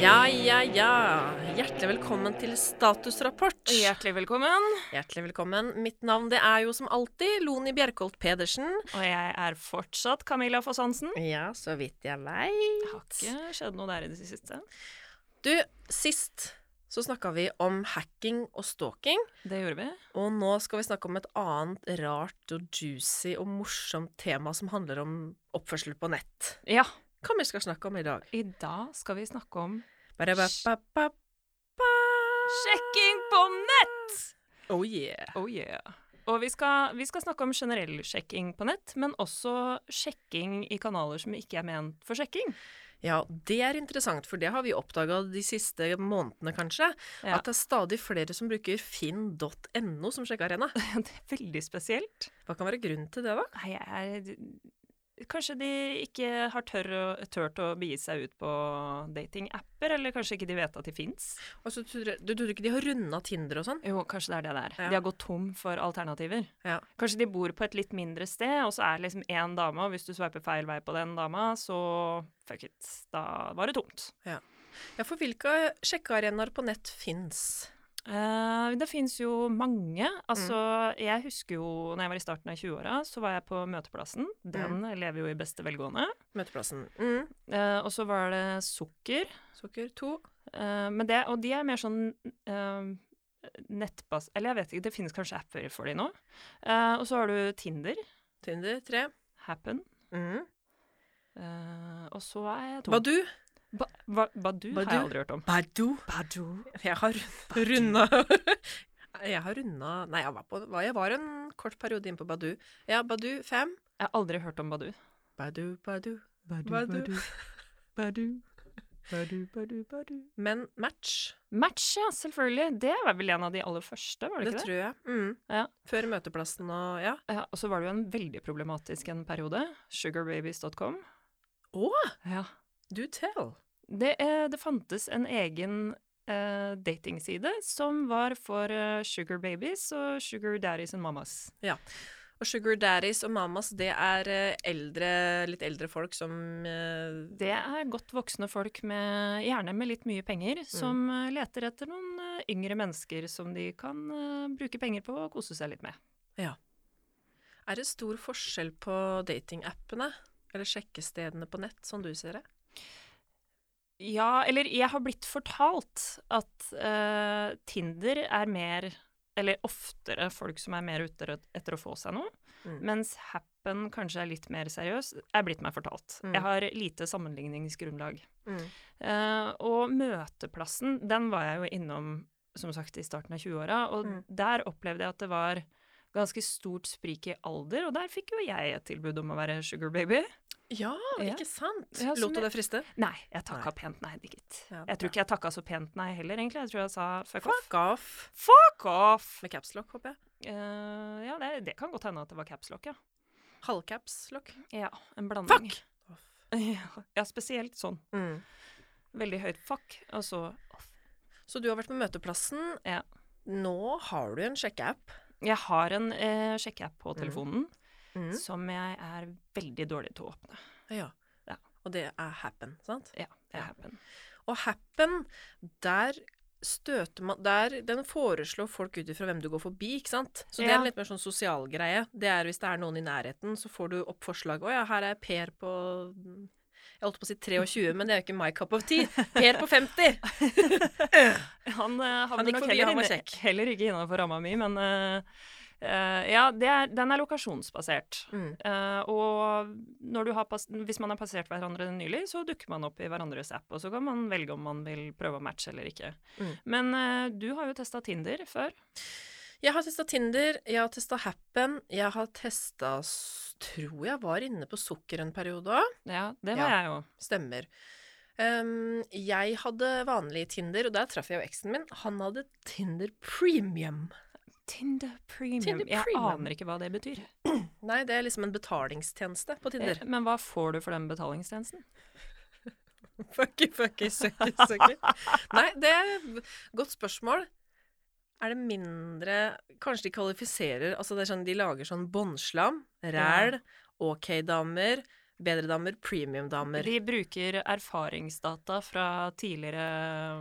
ja, ja. Hjertelig velkommen til Statusrapport. Hjertelig velkommen. Hjertelig velkommen. Mitt navn det er jo som alltid Loni Bjerkholt Pedersen. Og jeg er fortsatt Camilla Foss Hansen. Ja, så vidt jeg vei. Det har ikke skjedd noe der i det siste. Du, sist så snakka vi om hacking og stalking. Det gjorde vi. Og nå skal vi snakke om et annet rart og juicy og morsomt tema som handler om oppførsel på nett. Ja. Hva vi skal snakke om i dag? I dag skal vi snakke om Bare ba, ba, ba, ba. sjekking på nett! Oh yeah. Oh yeah. Og vi skal, vi skal snakke om generell sjekking på nett, men også sjekking i kanaler som ikke er ment for sjekking. Ja, det er interessant, for det har vi oppdaga de siste månedene, kanskje. Ja. At det er stadig flere som bruker finn.no som sjekkearena. Det er veldig spesielt. Hva kan være grunnen til det, da? Nei, jeg er Kanskje de ikke har tør å, tørt å begi seg ut på datingapper, eller kanskje ikke de vet at de fins. Altså, du, tror- du tror ikke de har runda Tinder og sånn? Jo, kanskje det er det der. Ja. De har gått tom for alternativer. Ja. Kanskje de bor på et litt mindre sted, og så er det liksom én dame, og hvis du sveiper feil vei på den dama, så fuck it, da var det tomt. ja, for hvilke sjekkearenaer på nett fins? Eh, det fins jo mange. Altså, Mm. jeg husker jo når jeg var i starten av 20-åra, så var jeg på Møteplassen. Den Mm. lever jo i beste velgående. Møteplassen. Mm. Eh, og så var det Sukker. Sukker 2. Eh, men det, og de er mer sånn eh, nettbas... Eller jeg vet ikke, det finnes kanskje apper for de nå. Eh, og så har du Tinder. Tinder 3. Happen. Mm. Eh, og så er jeg tom. Badu. Ba, ba, Badu, har Badu? jeg aldri hørt om. Badu. Badu? Jeg har runda Jeg har runda Nei, jeg var, på, hva- jeg var en kort periode inne på Badu. Ja, Badu 5. Jeg har aldri hørt om Badu. Badu, Badu. Badu, Badu. Badu. Badu, Badu, Badu. Men match, Match, ja, selvfølgelig. Det var vel en av de aller første, var det, det, ikke det? tror jeg. Mm. Ja. Før møteplassen og ja. Ja, og så var det jo en veldig problematisk en periode. Sugarbabies.com. Å, Ja. do tell! Det, eh, det fantes en egen eh, datingside som var for eh, sugar babies og sugar daddies and mamas. Og sugar daddies og mamas, det er eh, eldre, litt eldre folk som eh, Det er godt voksne folk, med, gjerne med litt mye penger, som eh, leter etter noen eh, yngre mennesker som de kan eh, bruke penger på og kose seg litt med. Er det stor forskjell på datingappene? Eller sjekkestedene på nett, som du ser det? Ja, eller jeg har blitt fortalt at eh, Tinder er mer, eller oftere folk som er mer ute et- etter å få seg noe, Mm. mens Happen kanskje er litt mer seriøs, er blitt meg fortalt. Mm. Jeg har lite sammenligningsgrunnlag. Eh, og møteplassen, den var jeg jo innom som sagt i starten av 20-åra, og Mm. der opplevde jeg at det var ganske stort sprik i alder, og der fikk jo jeg et tilbud om å være sugar baby. Ja, Ja. ikke sant? Ja, som Lot du jeg- deg friste? Nei, jeg takka pent nei, gitt. Ja, jeg bra. tror ikke jeg takka så pent nei heller, egentlig. Jeg tror jeg sa fuck off. Fuck off! Fuck off! Med capslock, håper jeg. Eh, ja, det, det kan godt hende at det var capslock, ja. Halvcapslock. Ja, en blanding. Fuck! Fuck! ja, spesielt sånn. Mm. Veldig høyt fuck, og så off. Så du har vært på Møteplassen. Ja. Nå har du en sjekkeapp. Jeg har en eh, sjekkeapp på Mm. telefonen. Mm. som jeg er veldig dårlig til å åpne. Ja. Ja. Og det er happen, sant? Ja, det Ja. er happen. Og Happen, der støter man der, Den foreslår folk ut ifra hvem du går forbi, ikke sant? Så det er Ja. en litt mer sånn sosial greie. Det er hvis det er noen i nærheten, så får du opp forslag. Å ja, her er Per på Jeg holdt på å si 23, men det er jo ikke my cup of tea. Per på 50! Han, eh, havner gikk nok forbi, heller han var inne- kjekk. Heller ikke innafor ramma mi, men eh, eh, Ja, det er, den er lokasjonsbasert. Mm. Eh, og når du har pass hvis man har passert hverandre nylig, så dukker man opp i hverandres app, og så kan man velge om man vil prøve å matche eller ikke. Mm. Men eh, du har jo testa Tinder før. Jeg har testa Tinder, jeg har testa Happen, jeg har testa Tror jeg var inne på Sukker en periode òg. Ja, det Ja. var jeg jo. Stemmer. Ehm, jeg hadde vanlig Tinder, og der traff jeg jo eksen min. Han hadde Tinder Premium. Tinder Premium. Tinder Jeg Premium. aner ikke hva det betyr. Nei, det er liksom en betalingstjeneste på Tinder. Eh, Men hva får du for den betalingstjenesten? Fucky, fucky, sucky, sucky. Nei, det er godt spørsmål. Er det mindre Kanskje de kvalifiserer Altså, det er sånn de lager sånn båndslam, ræl, OK-damer, Bedre damer, premium damer. De bruker erfaringsdata fra tidligere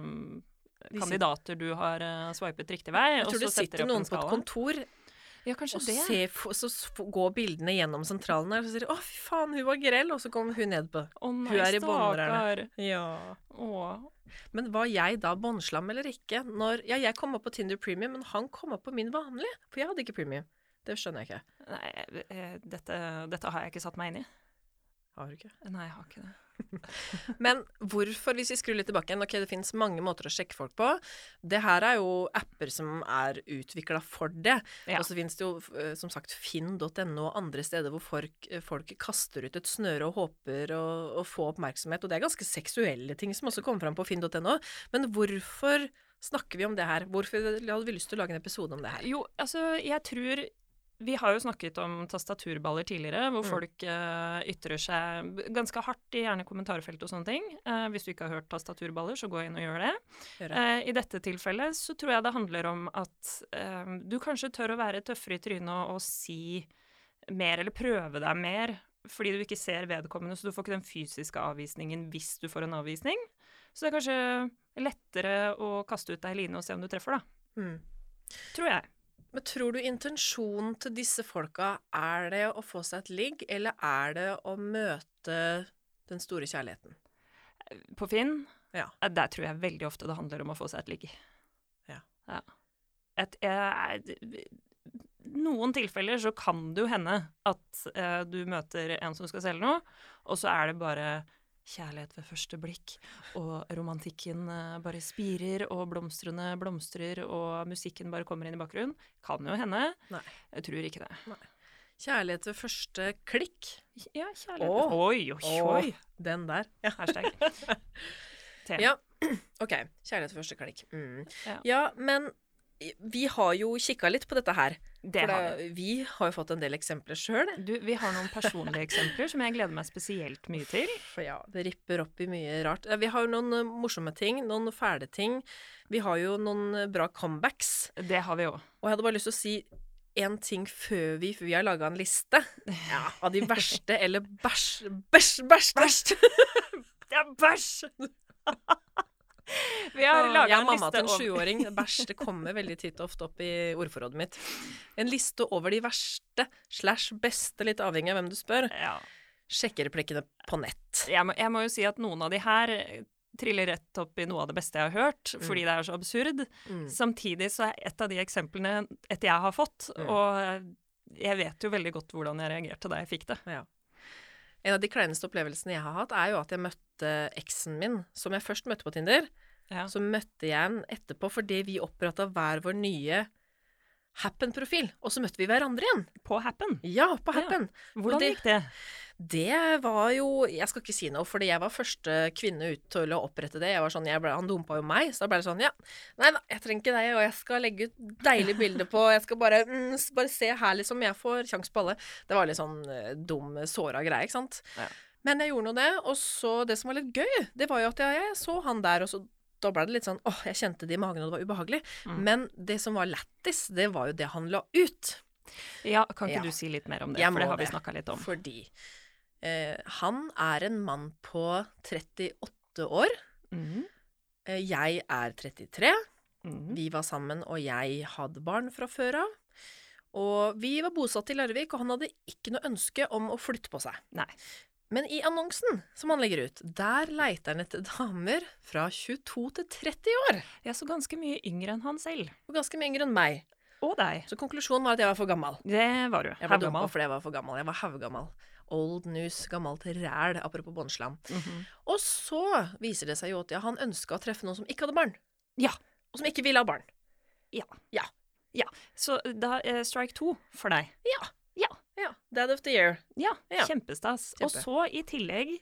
mm, De sit- kandidater du har eh, swipet riktig vei. Jeg og tror så det setter de sitter opp en noen på et skala. kontor Ja, kanskje og det. ser, f- så s- f- går bildene gjennom sentralen der, og så sier de 'Å, fy faen, hun var grell', og så kom hun ned på Å nei, Hun er i stakkar. båndlærerne. Ja. Å, Men var jeg da båndslam eller ikke? Når, ja, jeg kom opp på Tinder Premium, men han kom opp på min vanlige, for jeg hadde ikke Premium. Det skjønner jeg ikke. Nei, eh, dette, dette har jeg ikke satt meg inn i. Har du ikke? Nei, jeg har ikke det. Men hvorfor, hvis vi skrur litt tilbake igjen, ok, det finnes mange måter å sjekke folk på. Det her er jo apper som er utvikla for det. Ja. Og så finnes det jo eh, som sagt finn.no og andre steder hvor folk, eh, folk kaster ut et snøre og håper å, å få oppmerksomhet. Og det er ganske seksuelle ting som også kommer fram på finn.no. Men hvorfor snakker vi om det her? Hvorfor hadde vi lyst til å lage en episode om det her? Jo, altså, jeg tror Vi har jo snakket om tastaturballer tidligere, hvor Mm. folk eh, ytrer seg b- ganske hardt i gjerne kommentarfelt og sånne ting. Eh, hvis du ikke har hørt tastaturballer, så gå inn og gjør det. Gjør det. Eh, I dette tilfellet så tror jeg det handler om at eh, du kanskje tør å være tøffere i trynet og, og si mer, eller prøve deg mer, fordi du ikke ser vedkommende, så du får ikke den fysiske avvisningen hvis du får en avvisning. Så det er kanskje lettere å kaste ut deg i line og se om du treffer, da. Mm. Tror jeg. Men tror du intensjonen til disse folka er det å få seg et ligg, eller er det å møte den store kjærligheten? På Finn, Ja. eh, der tror jeg veldig ofte det handler om å få seg et ligg. Ja. Et, eh, d- noen tilfeller så kan det jo hende at eh, du møter en som skal selge noe, og så er det bare kjærlighet ved første blikk, og romantikken eh, bare spirer, og blomstrene blomstrer, og musikken bare kommer inn i bakgrunnen. Kan jo hende. Nei. Jeg tror ikke det. Kjærlighet ved første klikk. Ja, kjærlighet. Åh. Oi, oi, oi. Den der. Hashtag. T. Ja. OK. Kjærlighet ved første klikk. Mm. Ja. Ja. men vi har jo kikka litt på dette her. Det for har vi. det, vi har jo fått en del eksempler sjøl. Du, vi har noen personlige eksempler som jeg gleder meg spesielt mye til. For ja, det ripper opp i mye rart. Eh, Vi har jo noen eh, morsomme ting, noen fæle ting. Vi har jo noen eh, bra comebacks. Det har vi òg. Og jeg hadde bare lyst til å si en ting før vi For vi har laga en liste ja, av de verste eller bæsj... Bæsj, bæsj, bæsj! Det er bæsj! vi har Jeg laga er en mamma liste til en over sjuåring. Bæsj det kommer veldig titt og ofte opp i ordforrådet mitt. En liste over de verste slash beste, litt avhengig av hvem du spør, ja. sjekkereplikkene på nett. jeg, må, jeg må jo si at noen av de her eh, triller rett opp i noe av det beste jeg har hørt, fordi det er så absurd. Mm. Samtidig så er et av de eksemplene et jeg har fått, Mm. og eh, jeg vet jo veldig godt hvordan jeg reagerte da jeg fikk det. En av de kleineste opplevelsene jeg har hatt, er jo at jeg møtte eksen min, som jeg først møtte på Tinder. Ja. Så møtte jeg henne etterpå fordi vi oppretta hver vår nye Happen-profil. Og så møtte vi hverandre igjen. På Happen. Ja, på Ja. Happen. Hvordan det- gikk det? Det var jo Jeg skal ikke si noe, fordi jeg var første kvinne ut til å opprette det. Jeg var sånn, jeg ble, Han dumpa jo meg, så da ble det sånn Ja, nei da, jeg trenger ikke deg, og jeg skal legge ut deilige bilder på Jeg skal bare, mm, s- bare se her, liksom. Jeg får kjangs på alle. Det var litt sånn eh, dum, såra greie, ikke sant. Ja. Men jeg gjorde nå det. Og så det som var litt gøy, det var jo at jeg, jeg så han der, og så da ble det litt sånn åh, jeg kjente det i magen, og det var ubehagelig. Mm. Men det som var lættis, det var jo det han la ut. Ja, kan ikke Ja. du si litt mer om det? Jeg For det må har vi det. snakka litt om. Fordi eh, han er en mann på 38 år. Mm. Eh, jeg er 33. Mm. Vi var sammen, og jeg hadde barn fra før av. Og vi var bosatt i Larvik, og han hadde ikke noe ønske om å flytte på seg. Nei. Men i annonsen som han legger ut, der leiter han etter damer fra 22 til 30 år. Jeg er så ganske mye yngre enn han selv. Og ganske mye yngre enn meg. Og deg. Så konklusjonen var at jeg var for gammel. Det var du. Jeg ble dumpa Haugamal. fordi jeg var for gammel. Jeg var haugammel. Old news, gammelt ræl, apropos båndslam. Mhm. Og så viser det seg jo at ja, han ønska å treffe noen som ikke hadde barn. Ja. Og som ikke ville ha barn. Så da eh, strike to for deg. Ja, Dad of the year. Ja, Ja. kjempestas. Og Kjempe. så i tillegg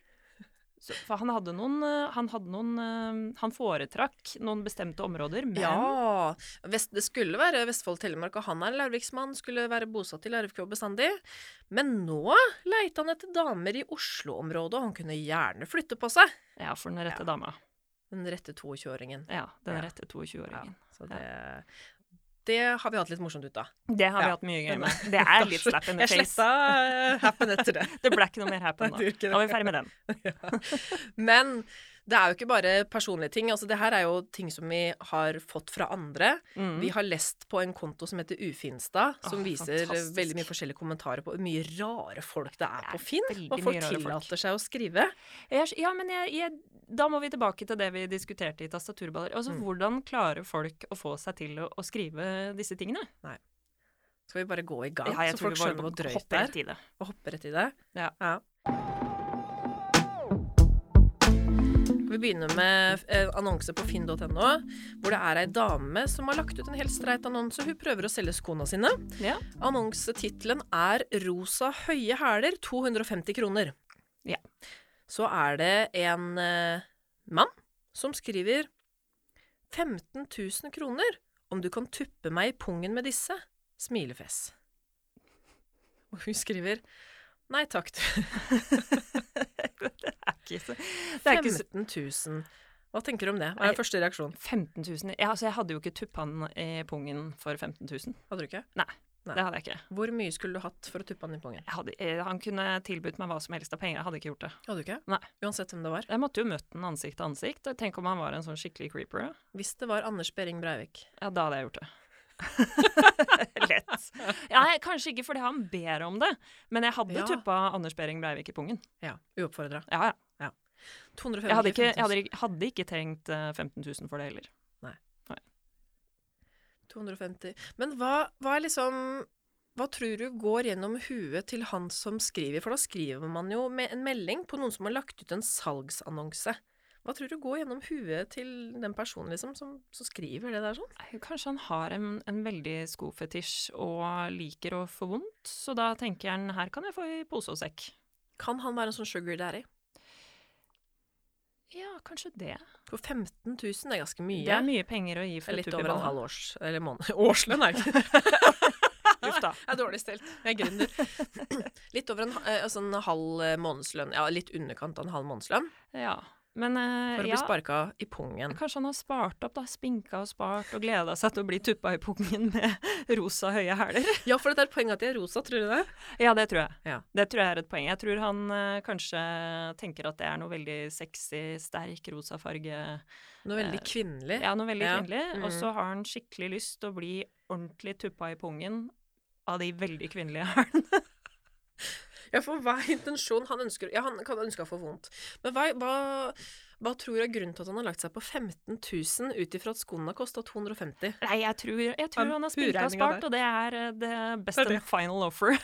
så, For han hadde noen eh, Han, hadde noen, eh, han foretrakk noen bestemte områder, men Ja. Vest, det skulle være Vestfold Telemark, og han er larviksmann. Skulle være bosatt i Larvik og bestandig. Men nå leita han etter damer i Oslo-området, og han kunne gjerne flytte på seg. Ja, for den rette dama. Den rette 22-åringen. Ja, den Ja. rette 22-åringen. Så det det har vi hatt litt morsomt ut av. Det har vi Ja. hatt mye gøy med. Det er litt slap in the Jeg sletta face. eh, happen etter det. Det ble ikke noe mer happen Nei, da. det gjorde ikke Da var vi det. ferdig med den. Men det er jo ikke bare personlige ting. Altså, det her er jo ting som vi har fått fra andre. Mm. Vi har lest på en konto som heter Ufinstad, som Åh, viser fantastisk. veldig mye forskjellige kommentarer på hvor mye rare folk det er Det er på Finn. veldig Og folk mye rare folk. tillater seg å skrive. Jeg, er- ja, men jeg, jeg, da må vi tilbake til det vi diskuterte i Tastaturballer. Altså, Mm. Hvordan klarer folk å få seg til å, å skrive disse tingene? Skal vi bare gå i gang, Ja, jeg så folk skjønner hvor drøyt det hopper er? rett i det. og hoppe rett i det. Ja. Skal Vi begynner med en annonse på finn.no, hvor det er ei dame som har lagt ut en helt streit annonse. Hun prøver å selge skoene sine. Ja. Annonsetittelen er 'Rosa høye hæler 250 kroner'. Ja. Så er det en eh, mann som skriver 15 000 kroner om du kan tuppe meg i pungen med disse. Smilefjes. Og hun skriver Nei takk, du. Det er ikke så, det er ikke så 15 000. Hva tenker du om det? Hva er Nei. den første reaksjonen? 15 000 ja, altså, Jeg hadde jo ikke tuppa den i pungen for 15 000. Hadde du ikke? Nei. Det hadde jeg ikke. Hvor mye skulle du hatt for å tuppe han i pungen? Jeg hadde, eh, han kunne tilbudt meg hva som helst av penger. Jeg hadde ikke gjort det. Hadde du ikke? Nei. Uansett hvem det var. Jeg måtte jo møtt den ansikt til ansikt. og Tenk om han var en sånn skikkelig creeper. ja. Hvis det var Anders Behring Breivik. Ja, da hadde jeg gjort det. Lett. Ja, jeg, kanskje ikke fordi han ber om det, men jeg hadde Ja. tuppa Anders Behring Breivik i pungen. Ja, uoppfordra. Ja, ja. 250 Jeg hadde ikke, jeg 000. hadde, ikke- hadde ikke trengt eh, 15 000 for det heller. 250. Men hva, hva er liksom Hva tror du går gjennom huet til han som skriver? For da skriver man jo med en melding på noen som har lagt ut en salgsannonse. Hva tror du går gjennom huet til den personen liksom, som, som skriver det der sånn? Nei, Kanskje han har en, en veldig skofetisj og liker å få vondt, så da tenker han her kan jeg få i pose og sekk. Kan han være en sånn sugar daddy? Ja, kanskje det. For 15 000 er ganske mye. Det er mye penger å gi Det for er et litt tupp i over en ballen. halv års, eller måned. Årslønn er det ikke. Uff da. Jeg er dårlig stelt. Jeg er gründer. Litt over en, eh, altså en halv eh, månedslønn. Ja, litt underkant av en halv månedslønn. Ja. Men eh, For å ja, bli sparka i pungen. kanskje han har spart opp, da. Spinka og spart og gleda seg til å bli tuppa i pungen med rosa høye hæler. Ja, for dette er et poeng at de er rosa, tror du det? Ja, det tror jeg. Ja. Det tror jeg er et poeng. Jeg tror han eh, kanskje tenker at det er noe veldig sexy, sterk rosa farge. Noe veldig kvinnelig. Eh, Ja, noe veldig Ja. kvinnelig. Mm. Og så har han skikkelig lyst til å bli ordentlig tuppa i pungen av de veldig kvinnelige hælene. Ja, for hva er intensjonen? Han ønsker Ja, han kan ønske å få vondt. Men hva, hva, hva tror du er grunnen til at han har lagt seg på 15 000 ut ifra at skoene har kosta 250? Nei, jeg tror, jeg tror Han han har spinka og puregninga spart, der. og det er eh, det best Det er det. and final offer.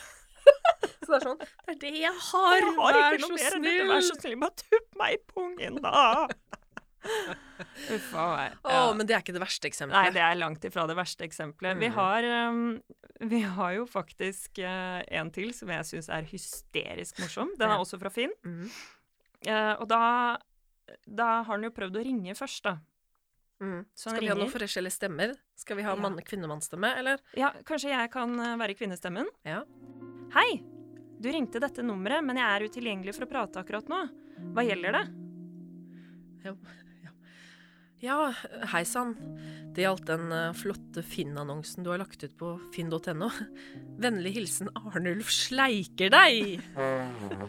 Så det er sånn Det er det jeg har! Jeg har Vær ikke så noe mer enn dette. snill! Vær så snill, bare tupp meg i pungen, da! Uff a meg. Å, Ja. men det er ikke det verste eksempelet. Nei, det er langt ifra det verste eksempelet. Vi, Mm. har, um, vi har jo faktisk eh, en til som jeg syns er hysterisk morsom. Den Ja. er også fra Finn. Mhm. Eh, og da, da har han jo prøvd å ringe først, da. Mm. Så han Skal vi ha noen Sånn ringer. forskjellige stemmer? Skal vi ha Ja. mann- kvinnemannstemme, eller? Ja, kanskje jeg kan eh, være kvinnestemmen? Ja. Hei! Du ringte dette nummeret, men jeg er utilgjengelig for å prate akkurat nå. Hva gjelder det? Ja, hei sann. Det gjaldt den eh, flotte Finn-annonsen du har lagt ut på finn.no. Vennlig hilsen Arnulf Sleiker deg! Mm.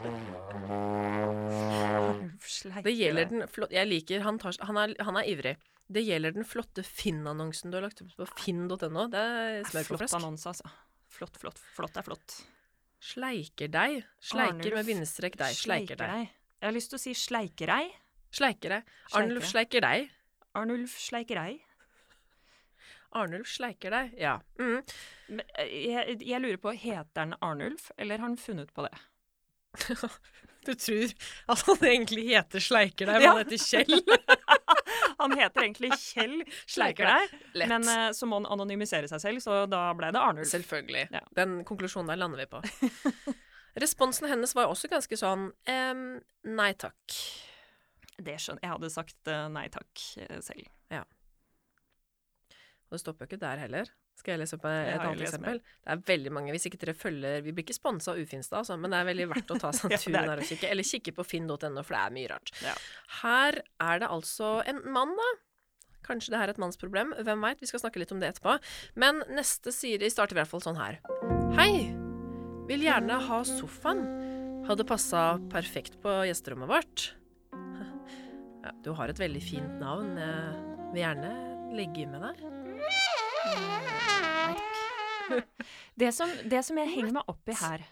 Det gjelder den flotte Jeg liker han, tar, han, er, han er ivrig. Det gjelder den flotte Finn-annonsen du har lagt ut på finn.no. Det er smør på Flott flesk. annonse, altså. Flott, flott. Flott er flott. Sleiker deg. Sleiker Arnulf med bindestrek deg. Sleiker deg. Jeg har lyst til å si Sleikerei. Sleiker deg. Arnulf sleiker deg. Arnulf Sleikerei. Arnulf sleiker deg. Ja. Mm. Men, eh, Jeg, jeg lurer på, heter han Arnulf, eller har han funnet på det? Du tror at han egentlig heter Sleiker deg, men Ja. han heter Kjell. Han heter egentlig Kjell Sleikerei, Lett. men eh, så må han anonymisere seg selv, så da ble det Arnulf. Selvfølgelig. Ja. Den konklusjonen der lander vi på. Responsen hennes var også ganske sånn ehm, nei takk. Det skjønner jeg. Jeg hadde sagt eh, nei takk eh, selv. Og det stopper jo ikke der heller. Skal jeg lese opp et jeg annet lest mer. eksempel? Det er veldig mange, hvis ikke dere følger Vi blir ikke sponsa av Ufinstad, altså, men det er veldig verdt å ta seg en Ja, det tur er der og kikke. Eller kikke på finn.no, for det er mye rart. Ja. Her er det altså en mann, da, Kanskje det her er et mannsproblem. Hvem veit? Vi skal snakke litt om det etterpå. Men neste Siri starter i hvert fall sånn her. Hei! Vil gjerne ha sofaen. Hadde passa perfekt på gjesterommet vårt. Ja, du har et veldig fint navn. Jeg vil gjerne legge med deg. Det som, det som jeg henger meg opp i her,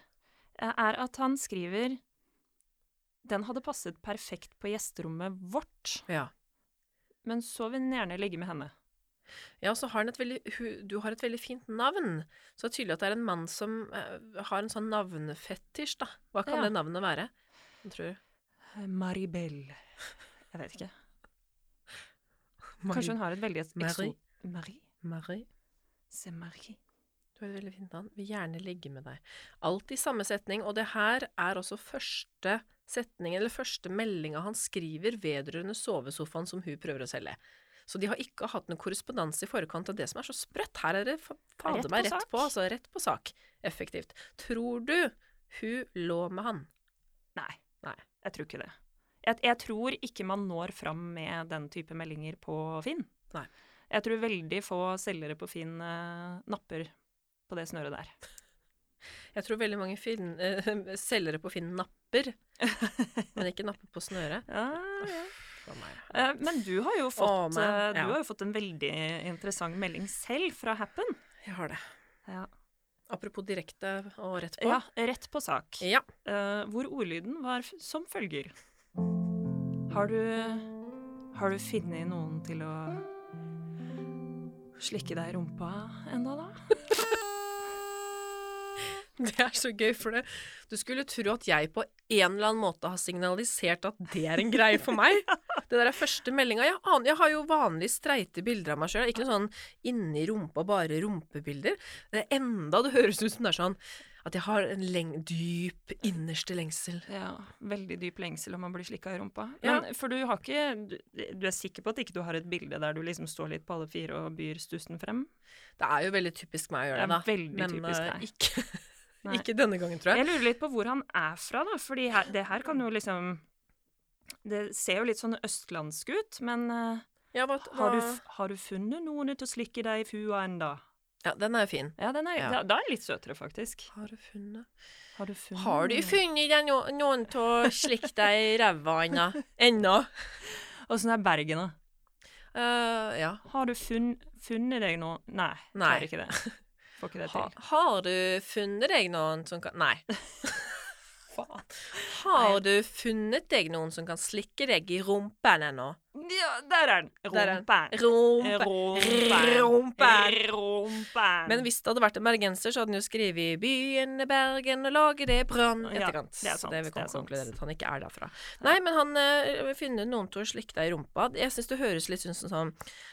eh, er at han skriver Den hadde passet perfekt på gjesterommet vårt, Ja. men så vil den gjerne ligge med henne. Ja, og så har han et veldig, hu- du har et veldig fint navn. Så det er tydelig at det er en mann som eh, har en sånn navnfetisj, da. Hva kan Ja. det navnet være? Hva Tror du? Maribel. Jeg vet ikke. Kanskje hun har et veldig ekso- Marie. Marie? Marie, C'est Marie. du har et veldig fint navn. Vil gjerne ligge med deg. Alt i samme setning, og det her er også første setning, eller første meldinga han skriver vedrørende sovesofaen som hun prøver å selge. Så de har ikke hatt noen korrespondanse i forkant av det som er så sprøtt. Her er det fa- Rett fader på meg rett sak. på, altså. Rett på sak. Effektivt. Tror du hun lå med han? Nei. Nei. Jeg tror ikke det. Jeg, jeg tror ikke man når fram med den type meldinger på Finn. Nei. Jeg tror veldig få selgere på Finn eh, napper på det snøret der. Jeg tror veldig mange finn, eh, selgere på Finn napper, men ikke napper på snøret. For meg. Eh, Men du har jo fått, man, eh, du ja. har jo fått en veldig interessant melding selv fra Happen. Jeg har det. Ja. Apropos direkte og rett på. ja, rett på sak. Ja. eh, hvor ordlyden var f- som følger. Har du Har du funnet noen til å slikke deg i rumpa enda, da? Det er så gøy, for det. du skulle tro at jeg på en eller annen måte har signalisert at det er en greie for meg. Det der er første meldinga. Jeg, aner- jeg har jo vanlig streite bilder av meg sjøl. Ikke noe sånn inni rumpa, bare rumpebilder. Det er enda det høres ut som det er sånn at jeg har en leng dyp innerste lengsel. Ja, veldig dyp lengsel om man blir slikka i rumpa. Ja. Men for du har ikke du, du er sikker på at ikke du har et bilde der du liksom står litt på alle fire og byr stussen frem? Det er jo veldig typisk meg å Det gjøre er det, da. veldig Men typisk eh, deg. ikke, Nei. ikke denne gangen, tror jeg. Jeg lurer litt på hvor han er fra, da. Fordi her, det her kan jo liksom Det ser jo litt sånn østlandsk ut, men eh, Ja, hva, har, hva- du, f- har du funnet noen til å slikke deg i fua enda? ja, den er jo fin. Ja, den er, Ja. Da, da er den litt søtere, faktisk. Har du funnet Har du funnet Har du funnet deg no noen til å slikke deg i ræva Anna? ennå? Åssen er Bergen, da? Eh, ja. Har du funn, funnet deg noen Nei, Nei. klarer ikke det. Får ikke det Ha, til. har du funnet deg noen som kan Nei. Faen. Har du funnet deg noen som kan slikke deg i rumpen ennå? Ja, der er den! Der er den. Rumpen. Eh, Rumpe. Rumpen. Rumpen. Rumpen. Men hvis det hadde vært en bergenser, så hadde han jo skrevet 'Byen er Bergen, og laget det brann' i Ja, etterkant. det er så sant, det vil det er komme til å sant. konkludere at han ikke er derfra. Nei, men han øh, finner noen til å slikke deg i rumpa. Jeg syns det høres litt ut som sånn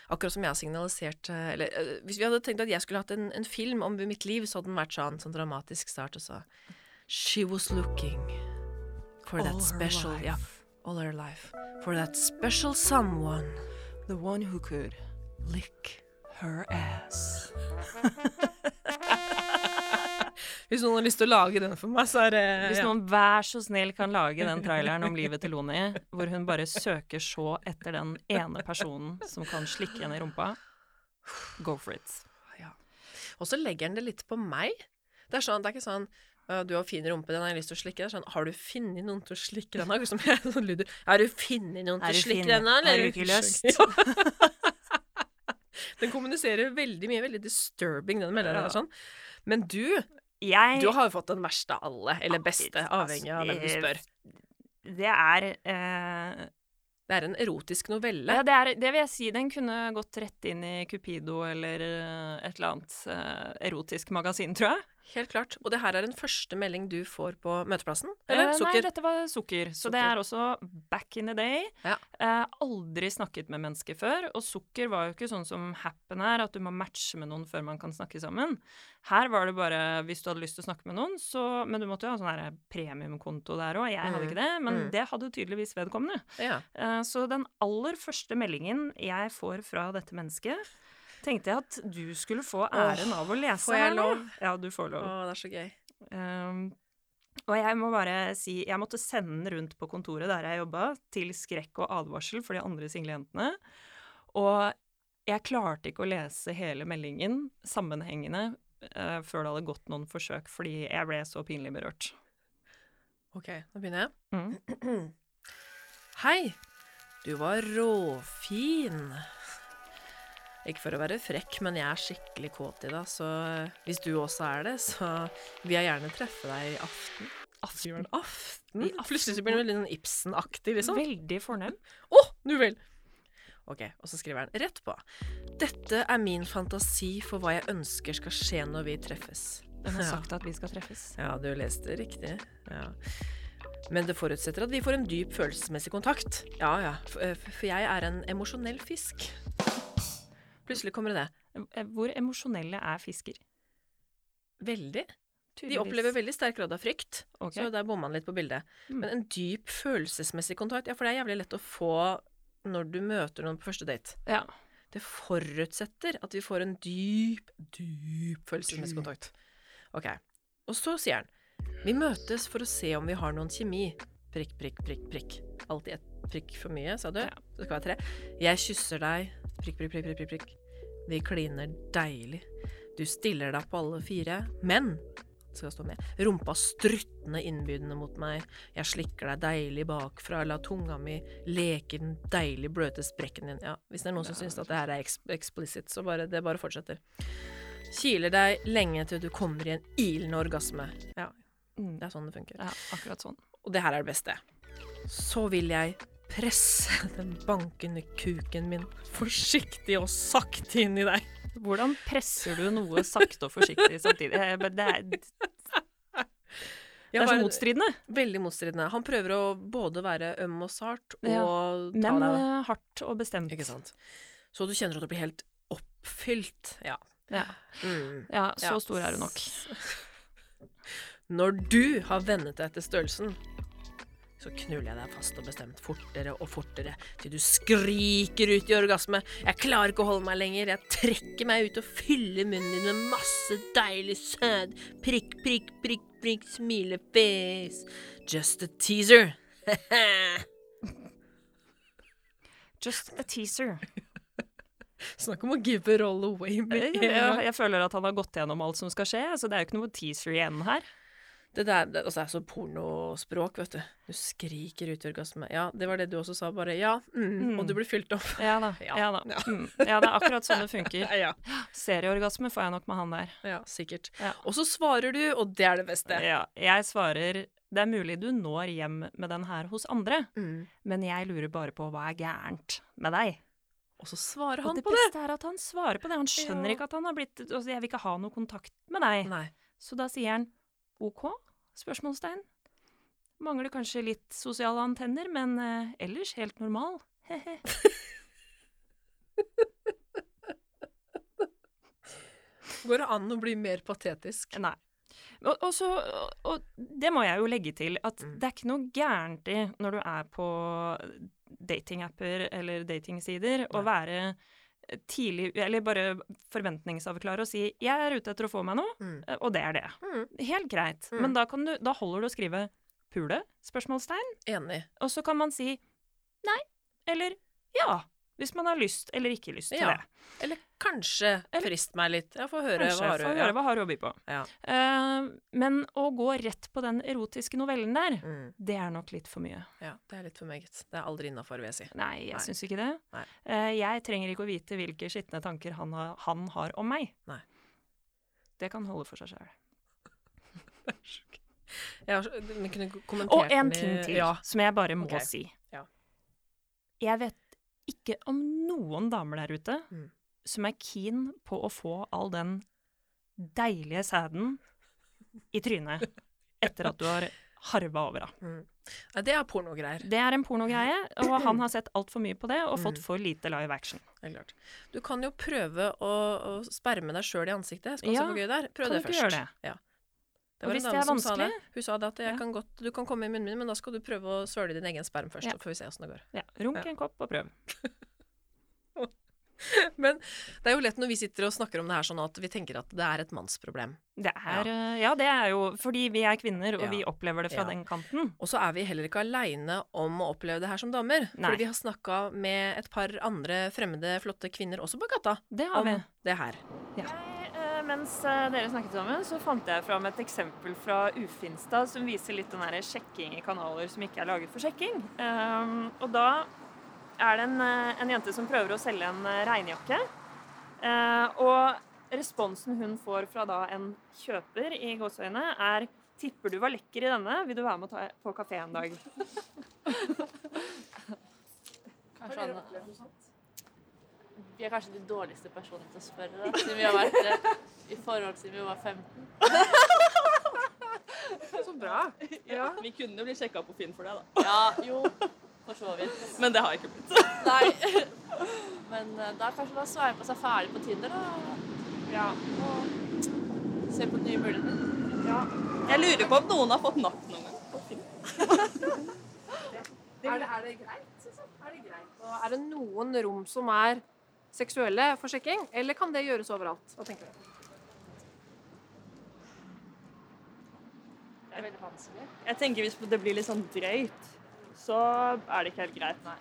Akkurat som jeg har signalisert øh, Eller øh, hvis vi hadde tenkt at jeg skulle hatt en, en film om mitt liv, så hadde den vært sånn, sånn dramatisk start, og så She was looking for All that her special life. Ja, all her life. For that special someone. The one who could Lick. her ass. Hvis noen har lyst til å lage den for meg, så er det Hvis noen vær så snill kan lage den traileren om livet til Loni, hvor hun bare søker så etter den ene personen som kan slikke henne i rumpa, go for it. Og så legger han det litt på meg. Det er, sånn, det er ikke sånn «Å, 'Du har fin rumpe, den har jeg lyst til å slikke'. Det er sånn 'Har du funnet noen til å slikke den?' Akkurat som jeg sånn lyder. 'Har du funnet noen til Er å du slikke fin? den?' Har eller?» du ikke lyst? Ja. den kommuniserer veldig mye. Veldig disturbing, den melderen. Ja. der, Sånn. Men du, Jeg altså du har jo fått den verste av alle. Eller beste, avhengig av hvem du spør. Det er eh, Det er en erotisk novelle. ja, det er Det vil jeg si, den kunne gått rett inn i Cupido eller eh, et eller annet eh, erotisk magasin, tror jeg. Helt klart. Og det her er den første melding du får på møteplassen? Eh, Eller? Nei, Sukker? dette var sukker. Så det Sukker. er også back in the day. Ja. Eh, aldri snakket med mennesker før. Og sukker var jo ikke sånn som happen er, at du må matche med noen før man kan snakke sammen. Her var det bare hvis du hadde lyst til å snakke med noen, så Men du måtte jo ha sånn her premiumkonto der òg. Jeg hadde Mm. ikke det, men Mm. det hadde tydeligvis vedkommende. Ja. Eh, så den aller første meldingen jeg får fra dette mennesket, tenkte jeg at du skulle få æren av å lese får jeg her nå. lov? Ja, du får Å, lov. det er så gøy. Um, og jeg må bare si, jeg måtte sende den rundt på kontoret der jeg jobba, til skrekk og advarsel for de andre single jentene. Og Jeg klarte ikke å lese hele meldingen sammenhengende eh, før det hadde gått noen forsøk, fordi jeg ble så pinlig berørt. OK, nå begynner jeg. Mm. Hei, du var råfin. Ikke for å være frekk, men jeg er skikkelig kåt i deg, så hvis du også er det, så vil jeg gjerne treffe deg i aften. Aften. Aften? I aften. Mm, Plutselig så blir du litt sånn Ibsen-aktig, liksom. Veldig fornem. Å, nu vel! Ok, og så skriver han rett på. Dette er min fantasi for hva jeg ønsker skal skje når vi treffes. Den har Ja. sagt at vi skal treffes. Ja, du leste riktig. Ja. Men det forutsetter at vi får en dyp følelsesmessig kontakt. Ja, ja. f- eh, f- For jeg er en emosjonell fisk. Plutselig kommer det. Eh, Hvor emosjonelle er fisker? Veldig. De opplever veldig sterk grad av frykt, Ok. så der bommer man litt på bildet. Mm. Men en dyp følelsesmessig kontakt, ja, for det er jævlig lett å få når du møter noen på første date. Ja. Det forutsetter at vi får en dyp, dyp følelsesmessig Dyp. kontakt. Ok. Og så sier han Vi møtes for å se om vi har noen kjemi. Prikk, prikk, prikk, prikk. Alltid ett prikk for mye, sa du. Ja. Det skal være tre. Jeg kysser deg. Prikk, prikk, prikk, prikk, prikk. prikk. Vi kliner deilig. Du stiller deg på alle fire, men det skal stå med. Rumpa struttende innbydende mot meg. Jeg slikker deg deilig bakfra, la tunga mi leke den deilig bløte sprekken din. Ja, hvis det er noen som Ja. syns at det her er eks- explicit, så bare, det bare fortsetter. Kiler deg lenge til du kommer i en ilende orgasme. Ja, Mm. det er sånn det funker. ja, akkurat sånn. Og det her er det beste. Så vil jeg presse den bankende kuken min forsiktig og sakte inn i deg. Hvordan presser du noe sakte og forsiktig samtidig? Eh, men Det er, det Jeg er så bare- motstridende, Veldig motstridende. Han prøver å både være øm og sart og ta men deg eh, hardt og bestemt. Ikke sant. Så du kjenner at du blir helt oppfylt. Ja. Ja, Mm. ja så Ja. stor er du nok. Når du har vennet deg til størrelsen, så knuller jeg deg fast og bestemt fortere og fortere til du skriker ut i orgasme. Jeg klarer ikke å holde meg lenger. Jeg trekker meg ut og fyller munnen din med masse deilig sød. Prikk, prikk, prikk, prikk, smilefjes. Just a teaser. Just a teaser. Snakk om å give it all away Jeg, med en gang. jeg føler at han har gått gjennom alt som skal skje, så det er jo ikke noe teaser igjen her. Det der, det, altså, det er så pornospråk, vet du. Du skriker ut i orgasme. Ja, det var det du også sa, bare ja, mm, Mm. og du blir fylt opp. Ja da. Ja. Ja, da. Ja. Mm. ja det er akkurat sånn det funker. Ja, Serieorgasme får jeg nok med han der. ja, sikkert. Ja. Og så svarer du, og det er det beste. Ja, jeg svarer det er mulig du når hjem med den her hos andre, Mm. men jeg lurer bare på hva er gærent med deg. Og så svarer Og han det på det. beste er at han svarer på det. Han skjønner Ja. ikke at han har blitt altså, Jeg vil ikke ha noe kontakt med deg. Nei. Så da sier han OK? Spørsmålstegn. Mangler kanskje litt sosiale antenner, men eh, ellers helt normal. Hehe. Går det an å bli mer patetisk? Nei. Og, og, så, og, og det må jeg jo legge til, at Mm. det er ikke noe gærent i når du er på datingapper eller datingsider, å være tidlig Eller bare forventningsavklare og si 'jeg er ute etter å få meg noe', Mm. eh, og det er det. Mm. Helt greit. Mm. Men da, kan du, da holder du å skrive 'pule?' spørsmålstegn. Enig. Og så kan man si 'nei' eller 'ja', hvis man har lyst eller ikke lyst til Ja. det. Eller kanskje Eller- frist meg litt. Jeg får høre Kanskje, hva har du få høre hva har du å by på. Ja. Eh, men å gå rett på den erotiske novellen der, Mm. det er nok litt for mye. ja, det er litt for meget. Det er aldri innafor, vil jeg si. Nei, Nei. jeg syns ikke det. Nei. Eh, jeg trenger ikke å vite hvilke skitne tanker han har, han har om meg. Nei. Det kan holde for seg sjøl. Jeg har, så- men kunne kommentert Og en den i- ting til Ja. som jeg bare må Ok. si. Ja. Jeg vet ikke om noen damer der ute Mm. som er keen på å få all den deilige sæden i trynet etter at du har harva over av. Mm. Nei, det er pornogreier. Det er en pornogreie, og han har sett altfor mye på det og fått Mm. for lite live action. Det er klart. Du kan jo prøve å, å sperme deg sjøl i ansiktet. Jeg skal også Ja, få gøy der. Prøv kan det du ikke først. gjøre det? Ja. Og var en hvis det dame er som sa vanskelig? Hun sa det at jeg Ja. kan godt, du kan komme i munnen min, men da skal du prøve å svøle din egen sperm først. Ja. Så får vi se åssen det går. Ja, Runk Ja. en kopp og prøv. Men det er jo lett når vi sitter og snakker om det her sånn at vi tenker at det er et mannsproblem. Det er, eh, ja, det er jo fordi vi er kvinner, og Ja. vi opplever det fra Ja. den kanten. Og så er vi heller ikke aleine om å oppleve det her som damer. Nei. For vi har snakka med et par andre fremmede, flotte kvinner også på gata Det har om vi. det her. Jeg, eh, mens eh, dere snakket sammen, så fant jeg fram et eksempel fra Ufinstad som viser litt den derre sjekking i kanaler som ikke er laget for sjekking. Ehm, og da er det en, eh, en jente som prøver å selge en eh, regnjakke. Eh, og responsen hun får fra da en kjøper i gåseøyne, er Tipper du var lekker i denne? Vil du være med å ta på kafé en dag? Kanskje han Vi er kanskje de dårligste personene til å spørre, da, siden vi har vært eh, i forhold siden vi var 15. Så bra. Ja. Vi kunne bli sjekka på Finn for det, da. Ja, jo, for så vidt. Men det har jeg ikke blitt. Nei. Men eh, da kanskje da sveipa seg ferdig på Tinder, da. Ja. Og se på nye muligheter. Jeg lurer på om noen har fått napp noen gang på Finn. Er det, greit? Og er det noen rom som er seksuelle for sjekking, eller kan det gjøres overalt? Hva tenker du? Det er veldig vanskelig. Jeg tenker hvis det blir litt sånn drøyt, så er det ikke helt greit. Nei.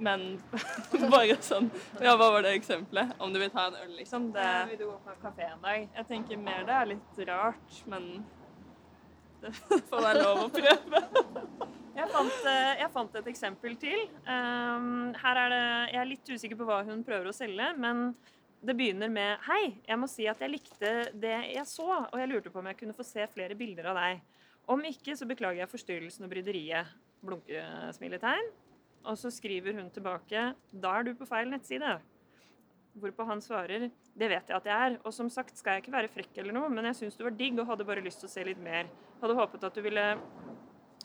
Men bare sånn Ja, hva var det eksempelet? Om du vil ta en øl, liksom? Det, Vil du gå på kafé en dag? jeg tenker mer det er litt rart, men det får være lov å prøve. Jeg fant, eh, jeg fant et eksempel til. Ehm, her er det, jeg er litt usikker på hva hun prøver å selge, men det begynner med Hei, jeg må si at jeg likte det jeg så, og jeg lurte på om jeg kunne få se flere bilder av deg. Om ikke, så beklager jeg forstyrrelsen og bryderiet. Blunkesmiletegn. Og så skriver hun tilbake Da er du på feil nettside. Hvorpå han svarer Det vet jeg at jeg er, og som sagt skal jeg ikke være frekk eller noe, men jeg syns du var digg og hadde bare lyst til å se litt mer. Hadde håpet at du ville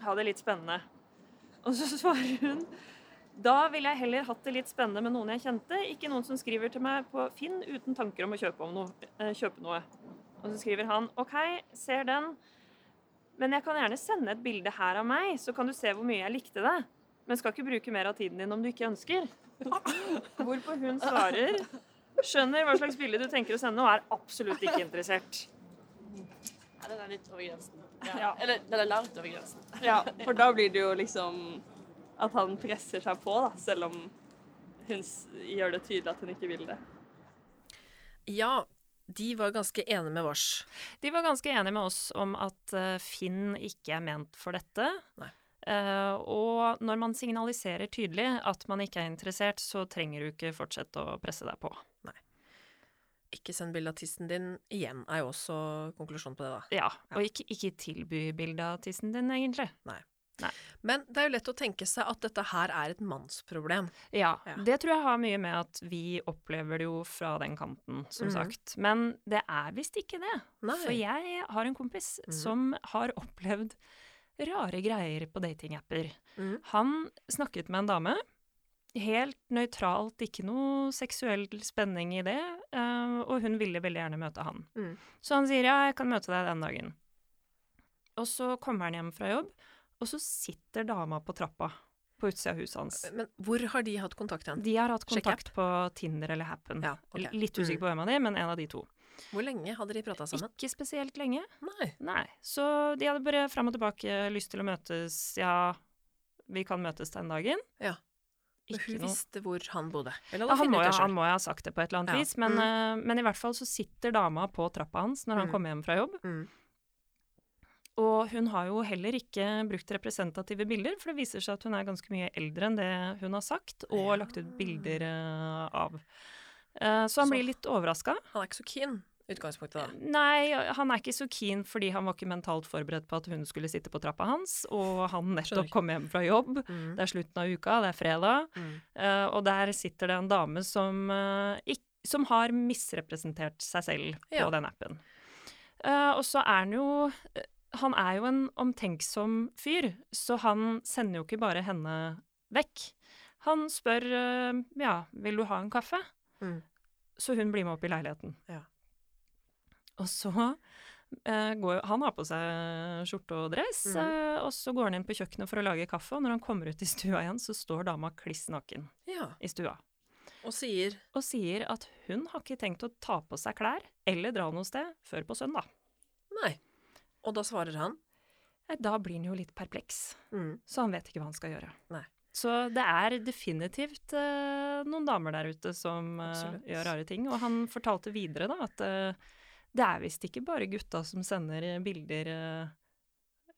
ha det litt spennende. Og så svarer hun da ville jeg heller hatt det litt spennende med noen jeg kjente, ikke noen som skriver til meg på Finn uten tanker om å kjøpe, om noe, eh, kjøpe noe. Og så skriver han OK, ser den, men jeg kan gjerne sende et bilde her av meg, så kan du se hvor mye jeg likte det. Men skal ikke bruke mer av tiden din om du ikke ønsker. Hvorpå hun svarer Skjønner hva slags bilde du tenker å sende, og er absolutt ikke interessert. Ja, den er litt over grensen. Ja. Eller den er langt over grensen. Ja, for da blir det jo liksom at han presser seg på, da, selv om hun s- gjør det tydelig at hun ikke vil det. Ja, de var ganske enige med vårs. De var ganske enige med oss om at eh, Finn ikke er ment for dette. Nei. Eh, og når man signaliserer tydelig at man ikke er interessert, så trenger du ikke fortsette å presse deg på. Ikke send bilde av tissen din igjen, er jo også konklusjonen på det, da. Ja, Og ikke, ikke tilby bilde av tissen din, egentlig. Men det er jo lett å tenke seg at dette her er et mannsproblem. Ja, Ja. Det tror jeg har mye med at vi opplever det jo fra den kanten, som Mhm. sagt. Men det er visst ikke det. Nei. For jeg har en kompis Mhm. som har opplevd rare greier på datingapper. Mhm. Han snakket med en dame. Helt nøytralt, ikke noe seksuell spenning i det. eh, og hun ville veldig gjerne møte han. Mhm. Så han sier ja, jeg kan møte deg den dagen. Og så kommer han hjem fra jobb, og så sitter dama på trappa på utsida av huset hans. Men hvor har de hatt kontakt igjen? De har hatt Sjekk kontakt på Tinder eller Happen. Ja, ok. Mm. L- Litt usikker på hvem av de, men en av de to. Hvor lenge hadde de prata sammen? Ikke spesielt lenge. Nei. Nei. Så de hadde bare fram og tilbake lyst til å møtes. Ja, vi kan møtes den dagen. Ja. Men Ikke hun noe. visste hvor han bodde. Eller Ja, han, må funnet jo, det selv. han må jo ha sagt det på et eller annet Ja. vis, men, eh, men i hvert fall så sitter dama på trappa hans når han Mm. kommer hjem fra jobb. Mm. Og hun har jo heller ikke brukt representative bilder, for det viser seg at hun er ganske mye eldre enn det hun har sagt, og Ja. lagt ut bilder eh, av. Eh, så han Så- blir litt overraska. Han er ikke så keen, utgangspunktet da. Nei, han er ikke så keen fordi han var ikke mentalt forberedt på at hun skulle sitte på trappa hans, og han Skjønner. nettopp kom hjem fra jobb. Mm. Det er slutten av uka, det er fredag, Mm. eh, og der sitter det en dame som, eh, ikk- som har misrepresentert seg selv på Ja. den appen. Eh, og så er han jo eh, Han er jo en omtenksom fyr, så han sender jo ikke bare henne vekk. Han spør eh, ja, vil du ha en kaffe? Mm. Så hun blir med opp i leiligheten. Ja. Og så eh, går Han har på seg skjorte og dress, Mhm. eh, og så går han inn på kjøkkenet for å lage kaffe, og når han kommer ut i stua igjen, så står dama kliss naken Ja. i stua. Og sier og sier at hun har ikke tenkt å ta på seg klær eller dra noe sted før på søndag. nei. Og da svarer han. Nei, Eh, Da blir han jo litt perpleks, Mm. så han vet ikke hva han skal gjøre. Nei. Så det er definitivt eh, noen damer der ute som eh, Absolutt. gjør rare ting. Og han fortalte videre da at eh, det er visst ikke bare gutta som sender eh, bilder eh,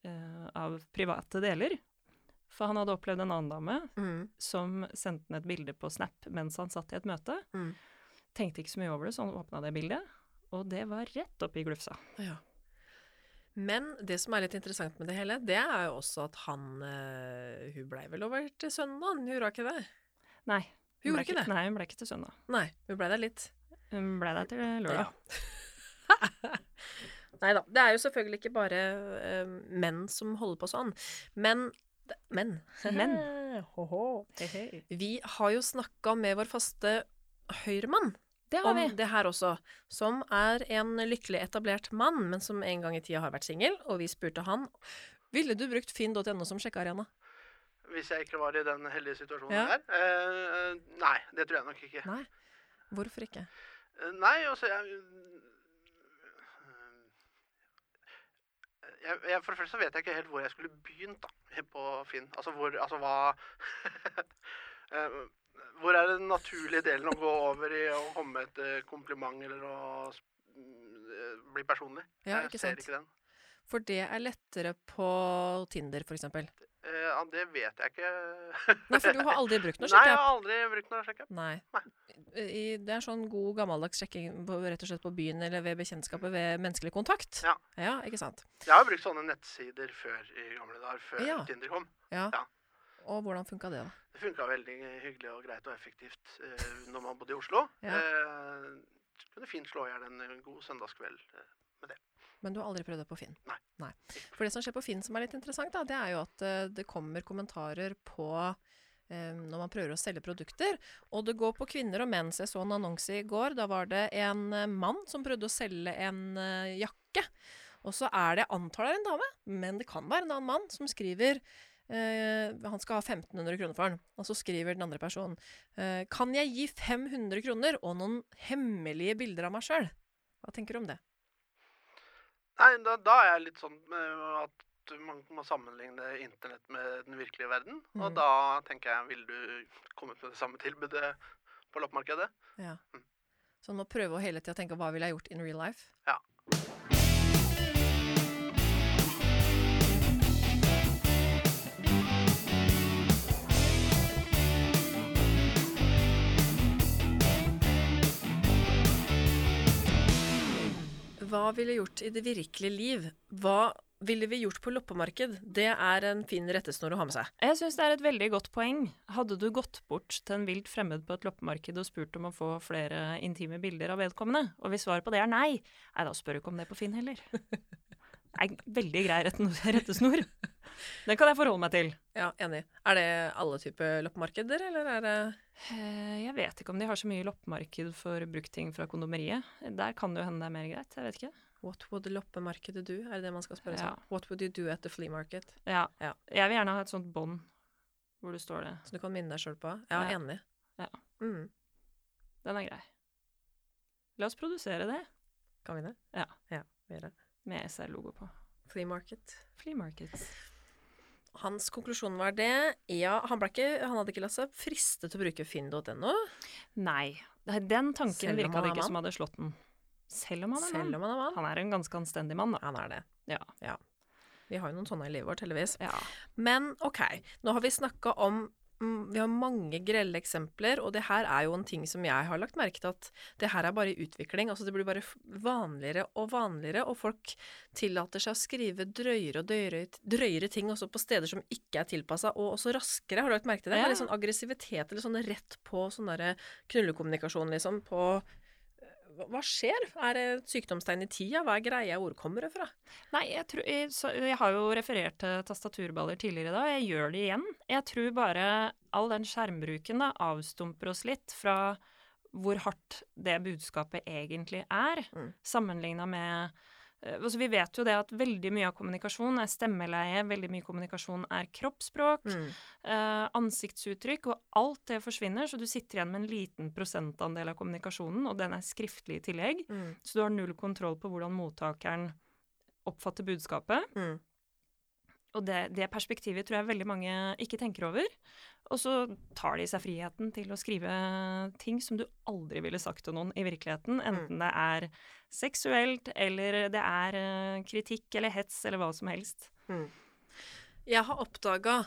eh, av private deler. For han hadde opplevd en annen dame Mm. som sendte ned et bilde på Snap mens han satt i et møte. Mm. Tenkte ikke så mye over det, så han åpna det bildet, og det var rett oppi glufsa. Ja. Men det som er litt interessant med det hele, det er jo også at han eh, Hun blei vel over til søndagen, hun rakk ikke det? Nei. Hun ble gjorde ikke det? Nei, hun ble ikke til søndag. Nei, hun blei der litt. Hun ble der til lørdag. Nei da. Det er jo selvfølgelig ikke bare eh, menn som holder på sånn. Men det- Men. Men. Ho-ho. Hei, hei. Vi har jo snakka med vår faste høyremann Det har om vi. det her også, som er en lykkelig etablert mann, men som en gang i tida har vært singel, og vi spurte han ville du brukt finn.no som sjekkearena. Hvis jeg ikke var i den heldige situasjonen Ja. der? Eh, nei, det tror jeg nok ikke. Nei. Hvorfor ikke? Eh, Nei, altså jeg, jeg, jeg For det første så vet jeg ikke helt hvor jeg skulle begynt da, på Finn. Altså hvor Altså hva Eh, Hvor er den naturlige delen å gå over i å komme med et eh, kompliment eller å sp- mm, eh, bli personlig? Ja, jeg ikke ser sant. ikke den. For det er lettere på Tinder, for eksempel. Eh, ja, det vet jeg ikke. Nei, for du har aldri brukt noe Nei, jeg sjekkeapp. har aldri brukt noe sjekkeapp. Nei. I, det er sånn god gammeldags sjekking på, rett og slett på byen eller ved bekjentskapet, ved menneskelig kontakt. Ja. ja ikke sant. Jeg har brukt sånne nettsider før i gamle dager, før Ja. Tinder kom. Ja. Ja. Og hvordan funka det, da? Det funka veldig hyggelig og greit og effektivt eh, når man bodde i Oslo. Ja. Eh, kunne fint slå i hjel en god søndagskveld. eh. Men du har aldri prøvd det på Finn? Nei. For det som skjer på Finn som er litt interessant, da, det er jo at eh, det kommer kommentarer på eh, når man prøver å selge produkter. Og det går på kvinner og menn. Så jeg så en annonse i går. Da var det en eh, mann som prøvde å selge en eh, jakke. Og så er det, jeg antar det er en dame, men det kan være en annen mann, som skriver eh, han skal ha 1500 kroner for den. Og så skriver den andre personen eh, Kan jeg gi 500 kroner og noen hemmelige bilder av meg sjøl? Hva tenker du om det? Nei, da, da er jeg litt sånn eh, at man må sammenligne internett med den virkelige verden. Mhm. Og da tenker jeg, ville du kommet med det samme tilbudet på loppemarkedet? Ja. Mm. Så nå prøve å hele tida tenke hva ville jeg gjort in real life? Ja. Hva ville jeg gjort i det virkelige liv? Hva ville vi gjort på loppemarked? Det er en fin rettesnor å ha med seg. Jeg syns det er et veldig godt poeng. Hadde du gått bort til en vilt fremmed på et loppemarked og spurt om å få flere intime bilder av vedkommende, og hvis svaret på det er nei, nei, da spør du ikke om det på Finn heller. Det er en veldig grei retten- rettesnor. Den kan jeg forholde meg til. Ja, enig. Er det alle typer loppemarkeder, eller er det Eh, Jeg vet ikke om de har så mye loppemarked for bruktting fra kondomeriet. Der kan det jo hende det er mer greit, jeg vet ikke. What would loppemarkedet do? Er det det man skal spørre seg? Ja. What would you do at the flea market? Ja. Ja. Jeg vil gjerne ha et sånt bånd hvor det står det. Som du kan minne deg sjøl på? Ja, Ja. enig. Ja. Mm. Den er grei. La oss produsere det Kan vi det? Ja. ja vi gjør det. med SR-logo på. Flea market. Flea markets. Hans konklusjon var det. Ja, han, ble ikke, han hadde ikke latt seg friste til å bruke finn.no, Nei. det- Den Selv om tanken virka han det er ikke som hadde slått den. Selv om han er selv mann. om han er mann. Han er en ganske anstendig mann, da. Han er det. Ja. Vi har jo noen sånne i livet vårt, heldigvis. ja. Men OK, nå har vi snakka om mm, Vi har mange grelle eksempler, og det her er jo en ting som jeg har lagt merke til at det her er bare i utvikling. Altså det blir bare f- vanligere og vanligere, og folk tillater seg å skrive drøyere og drøyere, drøyere ting også på steder som ikke er tilpassa, og også raskere. Har du lagt merke til det? Det Ja. er litt sånn aggressivitet eller sånn rett på sånn derre knullekommunikasjon, liksom, på hva- hva skjer? Er det et sykdomstegn i tida? Hva er greia ord kommer det fra? Nei, jeg, tror, jeg, så, jeg har jo referert til tastaturballer tidligere i dag. Jeg gjør det igjen. Jeg tror bare all den skjermbruken da, avstumper oss litt fra hvor hardt det budskapet egentlig er, Mm. sammenligna med eh, altså Vi vet jo det at veldig mye av kommunikasjon er stemmeleie, veldig mye kommunikasjon er kroppsspråk, Mm. eh, ansiktsuttrykk, og alt det forsvinner, så du sitter igjen med en liten prosentandel av kommunikasjonen, og den er skriftlig i tillegg, Mm. så du har null kontroll på hvordan mottakeren oppfatter budskapet. Mm. Og det, det perspektivet tror jeg veldig mange ikke tenker over. Og så tar de seg friheten til å skrive ting som du aldri ville sagt til noen i virkeligheten. Enten det er seksuelt, eller det er eh, kritikk eller hets eller hva som helst. Jeg har oppdaga,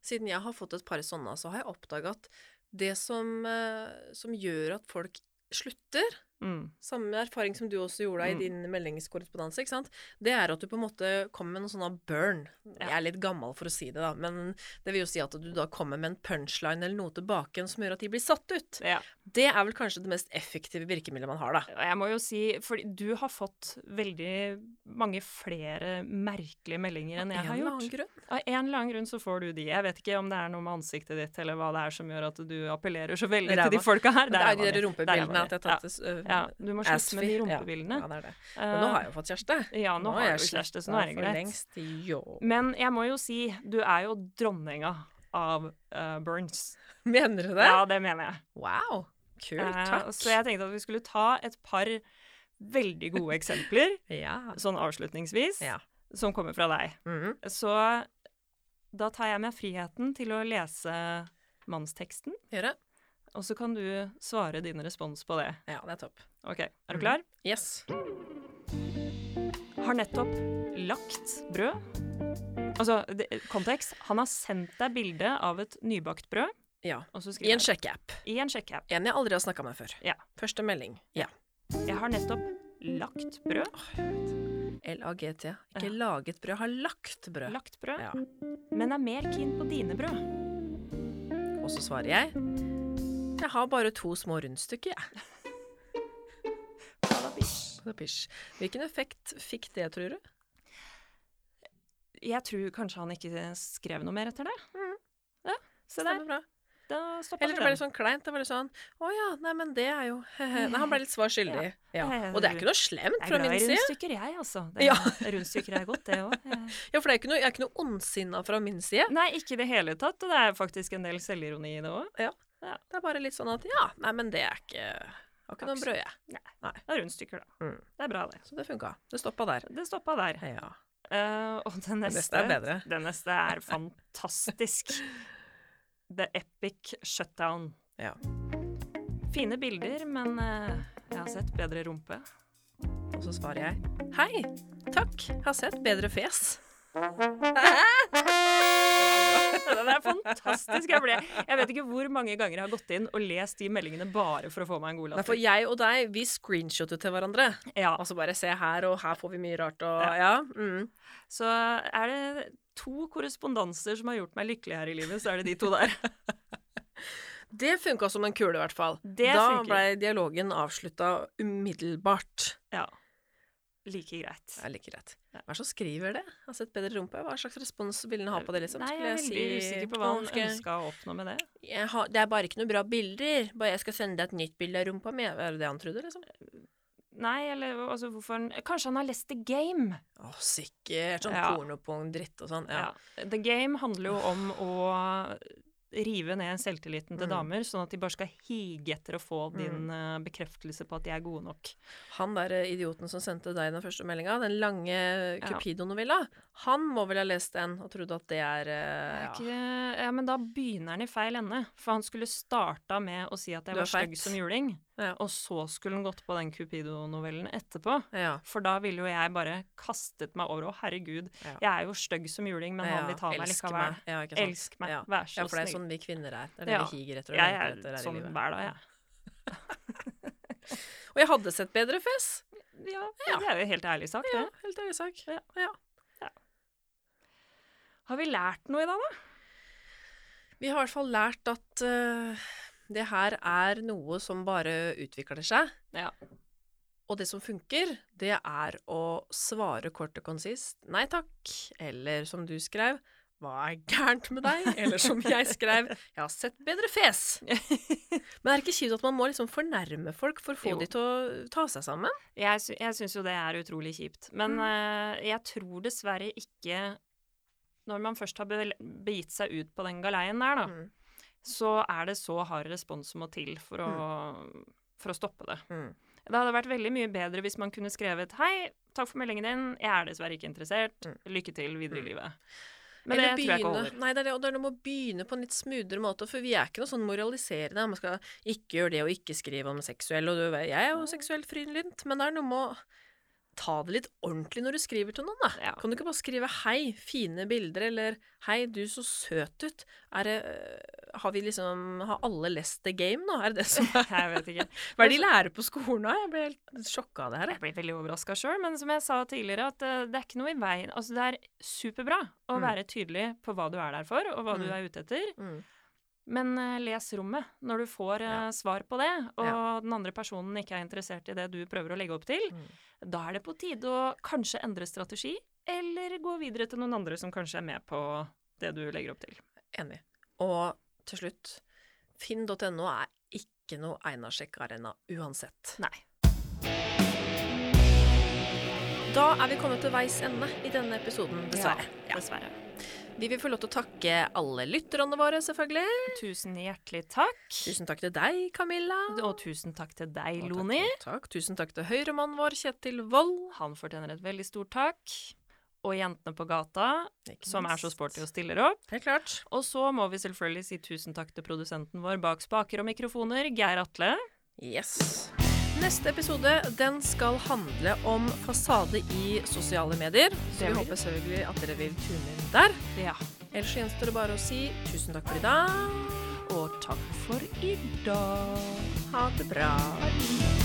siden jeg har fått et par sånne, så har jeg oppdaga at det som, eh, som gjør at folk slutter, Mm. samme erfaring som du også gjorde Mm. i din meldingskorrespondanse, ikke sant? det er at du på en måte kommer med noen sånne burn. Jeg er litt gammel for å si det, da, men det vil jo si at du da kommer med en punchline eller noe tilbake igjen som gjør at de blir satt ut. Ja. Det er vel kanskje det mest effektive virkemidlet man har, da. Og jeg må jo si, for du har fått veldig mange flere merkelige meldinger enn jeg en har eller gjort. annen grunn. Av en eller annen grunn så får du de. Jeg vet ikke om det er noe med ansiktet ditt, eller hva det er som gjør at du appellerer så veldig Ræva. til de folka her. Men det Der er jo de der var vi. Der var vi. rumpebildene at jeg har tatt det um, Ja. ja, du må slutte med de rumpebildene. Eh, Ja, ja, det er det. Men nå har jeg jo fått kjæreste. Ja, nå, har jeg jo slettet kjæreste, så nå er det for greit. Lengst, jo. Men jeg må jo si, du er jo dronninga av eh, burns. Mener du det? Ja, det mener jeg. Wow. Kult. Eh, Takk. så jeg tenkte at vi skulle ta et par veldig gode eksempler, Ja. sånn avslutningsvis, Ja. som kommer fra deg. Mhm. Så da tar jeg meg friheten til å lese mannsteksten, Gjør det? og så kan du svare din respons på det. Ja, det er topp. Ok, er Mhm. du klar? Yes. har nettopp lagt brød. Altså, det, kontekst. Han har sendt deg bilde av et nybakt brød. Ja. Og så I en skriver han sjekkeapp. i en sjekkeapp. En jeg aldri har snakka med før. Ja. Første melding. Ja. Jeg har nettopp lagt brød. LAGT. Ikke Ja. laget brød, har lagt brød. Lagt brød. Ja. Men er mer keen på dine brød. Og så svarer jeg Jeg har bare to små rundstykker, jeg. Padapish. Hvilken effekt fikk det, tror du? Jeg tror kanskje han ikke skrev noe mer etter det. Ja, se der. Mm. Stemmer bra. Da stopper Eller det ble den. litt sånn kleint. Det var litt sånn Å ja, nei, men det er jo Nei, han ble litt svar skyldig. Ja. Og det er ikke noe slemt Jeg fra er glad min i side. rundstykker, jeg, altså. Det er, Rundstykker er godt, det òg. Ja, for det er ikke noe, jeg er ikke noe ondsinna fra min side. Nei, ikke i det hele tatt. Og det er faktisk en del selvironi i det òg. Det er bare litt sånn at ja, nei, men det er ikke Har ikke noe brød, jeg. Det er rundstykker, da. Mm. Det er bra, det. Så det funka. Det stoppa der. Det stoppa der. Ja. Eh, og den Det neste, neste er bedre. den neste er fantastisk. The Epic Shutdown. Ja. Fine bilder, men eh, jeg har sett bedre rumpe. Og så svarer jeg hei, takk, har sett bedre fjes. Den er fantastisk. Jeg, ble, jeg vet ikke hvor mange ganger jeg har gått inn og lest de meldingene bare for å få meg en god Nei, for latter. jeg og deg, vi screenshoter til hverandre. Ja, Altså bare se her, og her får vi mye rart, og ja. Mm. så er det to korrespondanser som har gjort meg lykkelig her i livet, så er det de to der. Det funka som en kule, i hvert fall. Det da funker. blei dialogen avslutta umiddelbart. Ja. Like greit. Det er like greit. Hva er det som skriver det? Jeg har sett bedre rumpe. Hva slags respons ville han ha på det? liksom? Nei, jeg Skulle er veldig si- usikker på hva han Skal jeg- ønska å oppnå med det. jeg har, Det er bare ikke noe bra bilder. Bare jeg skal sende deg et nytt bilde av rumpa mi. Er det det han trodde, liksom? Nei, eller altså, hvorfor han Kanskje han har lest The Game? Å, sikkert. Sånn Ja. pornopong-dritt og sånn. Ja. The Game handler jo om å rive ned selvtilliten til Mm. damer, sånn at de bare skal hige etter å få din eh, bekreftelse på at de er gode nok. Han der eh, idioten som sendte deg den første meldinga, den lange Cupido-novella, han må vel ha lest den og trodde at det er eh, Ja. ja. Ikke, ja, men da begynner han i feil ende, for han skulle starta med å si at jeg Du er var feit. stygg som juling, Ja. og så skulle han gått på den Cupido-novellen etterpå. ja. For da ville jo jeg bare kastet meg over. Å, herregud, Ja. jeg er jo stygg som juling, men han ja, vil ta meg elsk likevel. meg. Ja, ikke sant? Elsk meg. Ja. Vær så Ja, for det er snill. sånn vi kvinner er. Det er det Ja. vi higer etter og Jeg lengter er etter her i sånn livet. hver dag, jeg. Og jeg hadde sett bedre fjes. Ja, det er jo helt ærlig sagt, Ja, det. helt ærlig sak. Ja. Ja. Har vi lært noe i dag, da? Vi har i hvert fall lært at eh, det her er noe som bare utvikler seg. Ja. Og det som funker, det er å svare kort og konsist 'nei takk', eller som du skrev 'Hva er gærent med deg?' Eller som jeg skrev 'Jeg har sett bedre fes'. Men er det ikke kjipt at man må liksom fornærme folk for å få Jo. de til å ta seg sammen? Jeg, sy jeg syns jo det er utrolig kjipt. Men Mm. eh, jeg tror dessverre ikke Når man først har be begitt seg ut på den galeien der, da, Mm. så er det så hard respons som må til for å, for å stoppe det. Mm. Det hadde vært veldig mye bedre hvis man kunne skrevet Hei, takk for meldingen din. Jeg er dessverre ikke interessert. Mm. Lykke til videre i livet. Men Eller det tror jeg ikke begynne- holder. Nei, det er det, og det er noe med å begynne på en litt smoothere måte, for vi er ikke noe sånn moraliserende. Man skal ikke gjøre det og ikke skrive om seksuell, og du, vet, jeg er jo seksuelt frilynt, men det er noe med å ta det litt ordentlig når du skriver til noen, da. Ja. Kan du ikke bare skrive 'hei, fine bilder', eller 'hei, du så søt ut'? Er det, øh, har vi liksom Har alle lest The Game nå? Er det det som Jeg vet ikke. Hva er det de lærer på skolen nå? Jeg ble helt sjokka av det her, jeg. Jeg blir veldig overraska sjøl, men som jeg sa tidligere, at eh, det er ikke noe i veien. Altså, det er superbra å Mm. være tydelig på hva du er der for, og hva du Mm. er ute etter. Mm. Men eh, les rommet når du får eh, Ja. svar på det, og Ja. den andre personen ikke er interessert i det du prøver å legge opp til. Mm. Da er det på tide å kanskje endre strategi, eller gå videre til noen andre som kanskje er med på det du legger opp til. Enig. Og til slutt, finn.no er ikke noe Einarsjekk-arena uansett. Nei. Da er vi kommet til veis ende i denne episoden, dessverre. Ja. Dessverre. Vi vil få lov til å takke alle lytterne våre, selvfølgelig. Tusen hjertelig takk. Tusen takk til deg, Camilla. Og tusen takk til deg, Og takk, Loni. og Takk. Tusen takk til høyremannen vår, Kjetil Wold. Han fortjener et veldig stort takk. Og jentene på gata, Ikke som er så minst. sporty og stiller opp. Helt klart. Og så må vi selvfølgelig si tusen takk til produsenten vår bak spaker og mikrofoner, Geir Atle. Yes. Neste episode den skal handle om fasade i sosiale medier. Så Det vi blir- håper selvfølgelig at dere vil tune inn der. Ja. Ellers så gjenstår det bare å si tusen takk for i dag. Og takk for i dag. Ha det bra.